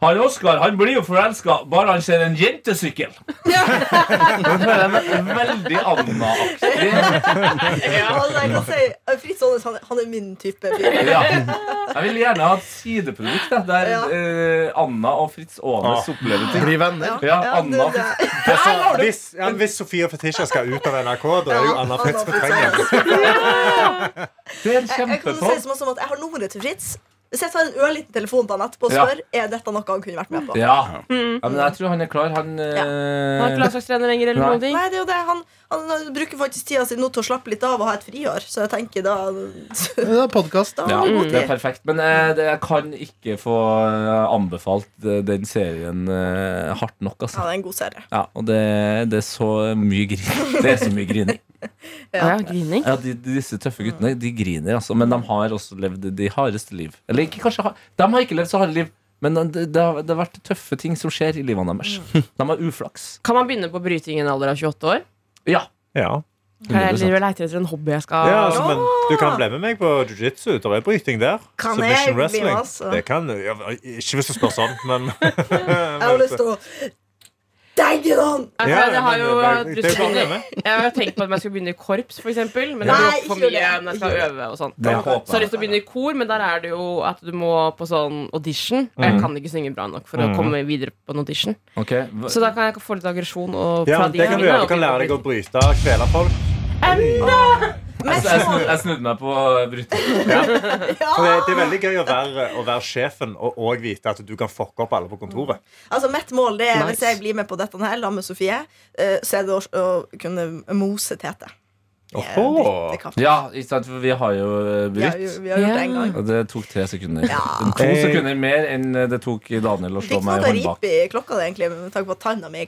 S2: han Oskar han blir jo forelska bare han ser en jentesykkel. Det føler jeg meg Veldig Anna-aktig.
S3: Altså, jeg kan si, eh, Fritz Aanes han, er- han er min type. fyr.
S2: Ja. Jeg vil gjerne ha et sideprodukt da, der
S3: Ja.
S2: eh, Anna og Fritz Aanes
S5: Ah.
S2: opplever ting.
S6: Bli venner.
S2: Ja,
S3: det-
S2: Anna og
S3: det-
S2: Fritz
S5: Altså, hvis, ja, hvis Sofie og Fetisha skal ut av NRK, da er jo Anna Fritz på trengen.
S2: Det er en
S3: Jeg, jeg kan også si
S2: kjempepod.
S3: så mye som at jeg har nummeret til Fritz. Hvis jeg tar en ørliten telefon til han etterpå og
S2: Ja.
S3: spør er dette noe han kunne vært med på.
S2: Ja. ja, men jeg tror han er klar. Han eh,
S4: Han er ikke landslagstrener lenger eller
S2: Nei.
S4: noen ting.
S3: Nei, det er jo det. Han, han bruker faktisk tida si nå til å slappe litt av og ha et friår. Så jeg tenker da
S6: Det er podkast.
S3: Da
S2: ja,
S3: har han god
S2: det er
S3: tid.
S2: perfekt. Men eh, det, jeg kan ikke få eh, anbefalt eh, den serien eh, hardt nok,
S3: Ja,
S2: altså.
S3: det er en god serie.
S2: Ja, og det, det er så mye grin. Det er så mye grining.
S4: Ja, grining.
S5: Eh,
S2: Ja, de, de- disse tøffe guttene de griner, altså, men de har også levd de hardeste liv. Eller ikke, kanskje har- De har ikke levd så harde liv, men det, det, har, det har vært tøffe ting som skjer i livene deres. De har uflaks.
S4: Kan man begynne på bryting i en alder av 28 år?
S2: Ja.
S5: Ja.
S4: Jeg leter etter en hobby jeg
S3: Ah.
S4: skal
S5: Ja, altså, men du kan bli med meg på jiu-jitsu. Det er bryting der.
S3: Kan jeg
S5: Submission
S3: bli med,
S5: wrestling.
S3: altså?
S5: Det kan du. Ja, Ikke hvis du spør sånn, men
S3: Jeg har lyst til å Dægge han!
S4: Altså,
S5: Ja,
S4: jeg har
S5: men
S4: jo
S5: det- det- det er jo bare å bli med.
S4: Jeg har tenkt på at jeg skulle begynne i korps, for eksempel. Men det
S3: Nei,
S4: er jo for
S3: ikke gjør
S4: mye
S3: det.
S4: når jeg skal øve og sånn.
S2: Det håper jeg.
S4: Så har jeg lyst til å begynne i kor, men der er det jo at du må på sånn audition.
S5: Mm.
S4: Og jeg kan ikke synge bra nok for å komme videre på en audition.
S2: Ok, hva-
S4: Så da kan jeg få litt aggresjon. og
S5: Ja,
S4: fra
S5: men
S4: de
S5: det kan du
S4: tingene,
S5: gjøre.
S4: og
S5: Du kan
S4: bli
S5: lære deg å
S4: påvirket.
S5: bryte, kvele folk.
S3: Men
S2: Så jeg,
S3: så-
S2: snu, jeg snudde meg på bryting.
S5: For det, det er veldig gøy å
S4: Ah!
S5: være, å være sjefen og, og vite at du kan fucke opp alle på kontoret.
S3: Altså, mitt mål det er hvis
S4: Nice.
S3: jeg blir med på dette her sammen med Sofie, eh, så er det å, å kunne mose Tete. Det er
S5: Åhå.
S3: litt- det kan-
S2: Ja, ikke sant, for vi har jo eh,
S3: Vi har,
S2: brytt.
S3: jo- vi har gjort det en gang.
S2: Og det tok tre sekunder.
S3: Ja.
S2: To sekunder mer enn det tok Daniel å
S3: Fikk
S2: slå
S3: ikke
S2: meg
S3: noe
S2: i håndbak.
S3: rip i klokka, det, egentlig, med tanke på at tanna mi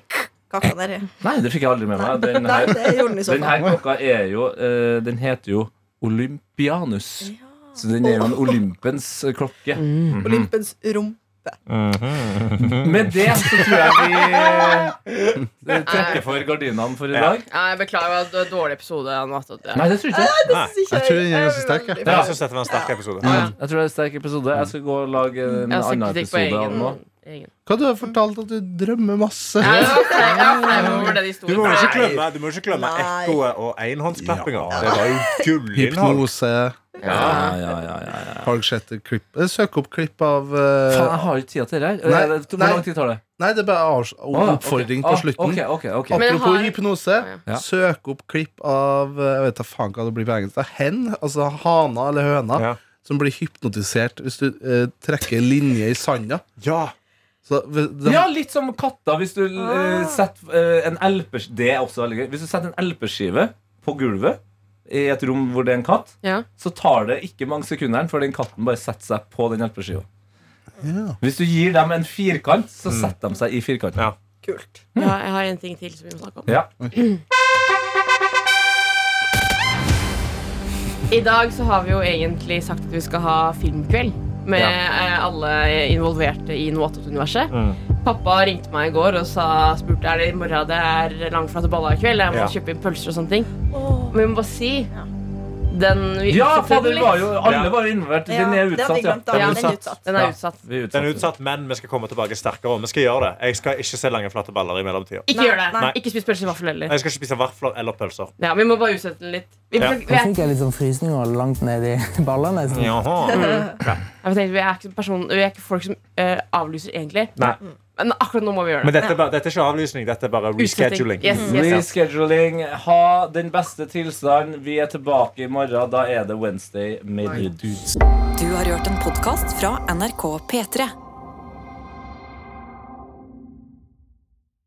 S3: kakka nedi.
S2: Nei, det fikk jeg aldri med meg. Den
S3: Nei,
S2: her,
S3: det gjorde den i så
S2: den her
S3: fall.
S2: klokka er jo eh, Den heter jo Olympianus. Så den er jo en olympens eh, klokke.
S3: Olympens rom. type.
S2: Med det så tror jeg vi eh, trekker for gardinene for i dag.
S4: Nei, jeg beklager at det var en dårlig episode. Anna, at det-
S2: Nei, det tror jeg ikke.
S6: Jeg tror den er ganske sterk. jeg.
S5: Jeg syns dette var en sterk episode.
S4: altså Ja, ja.
S2: Jeg tror det er en sterk episode. Jeg skal gå og lage en
S4: Jeg har
S2: annen
S4: selvkritikk på
S2: episode av
S4: egen,
S2: nå.
S4: egen.
S6: Hva du har fortalt at du drømmer masse?
S4: Nei, jeg var flau- jeg var flau over den
S5: Du må jo
S4: historien.
S5: ikke glemme, du må jo ikke glemme
S3: Nei.
S5: ekkoet og enhåndsklappinga. Det var jo gullinnhold.
S6: Hypnose.
S2: Ja, ja, ja, ja, ja.
S6: Har dere sett et klipp? Eh, Søk opp klipp av eh,
S2: Faen, jeg har ikke tida til det her.
S6: Nei,
S2: Eh, det- Hvor
S6: nei.
S2: lang tid tar det?
S6: Nei, det er bare avs-
S2: Å, ok.
S6: oppfordring
S2: Ah,
S6: på slutten.
S2: ok, ok, ok.
S4: Men
S6: Apropos
S4: har-
S6: hypnose,
S2: Ja.
S6: søk opp klipp av eh, Jeg vet da faen hva det blir på engelsk. Det er hen, altså hana eller høna,
S5: Ja.
S6: som blir hypnotisert hvis du eh, trekker en linje i sanda.
S5: Ja.
S6: Så, v- de,
S3: sånn
S2: Ja, litt som katta. Hvis du
S3: Ah.
S2: eh, setter eh, en LP Det er også veldig gøy. Hvis du setter en LP-skive på gulvet i et rom hvor det er en katt,
S4: Ja.
S2: så tar det ikke mange sekundene før den katten bare setter seg på den LP-skiva.
S6: Ja.
S2: Hvis du gir dem en firkant,
S3: Mm.
S2: så setter de seg i firkanten.
S5: Ja.
S3: Kult.
S4: Ja, jeg har en ting til som vi må snakke om.
S2: Ja.
S4: I dag så har vi jo egentlig sagt at vi skal ha filmkveld med eh, alle involverte i Noe universet Pappa ringte meg i går og sa, spurte er det i morgen det er langflate baller i kveld. Jeg må
S5: Ja.
S4: kjøpe inn pølser og sånne ting. Men vi må bare si den vi
S2: ja,
S4: utsetter
S2: for
S4: den
S2: det
S4: litt.
S2: var jo, alle
S5: Ja.
S2: var jo involvert.
S3: Ja,
S2: Den er
S3: det hadde
S2: utsatt,
S3: jeg glemt. Da.
S2: ja.
S4: Ja,
S3: Den
S4: den
S3: er
S4: er
S3: utsatt.
S4: Den er
S2: Ja.
S4: utsatt.
S2: Vi er utsatt.
S5: Den er utsatt, men vi skal komme tilbake sterkere. og Vi skal gjøre det. Jeg skal ikke se lange, flate baller i mellomtida.
S4: Ikke
S3: Nei,
S4: gjør det.
S5: nei.
S4: Ikke spis pølser i vaffel heller.
S5: Jeg skal ikke spise vafler eller pølser.
S4: Ja, vi må bare utsette den litt. Vi,
S5: Ja.
S4: vi, er,
S9: fikk jeg litt sånn frysninger langt ned i ballene. sånn.
S5: Jaha.
S2: Mm.
S4: jeg tenkte, vi er ikke person, vi er ikke folk som eh, avlyser egentlig.
S5: Nei.
S4: Men akkurat nå må vi gjøre
S5: Men
S4: det.
S5: dette er, bare, dette er ikke avlysning, dette er bare
S4: Utsetting.
S5: rescheduling.
S4: Yes, yes, yes.
S2: Rescheduling. Ha den beste tilstanden. Vi er tilbake i morgen. Da er det Wednesday midnight.
S1: Du har hørt en podkast fra NRK P3.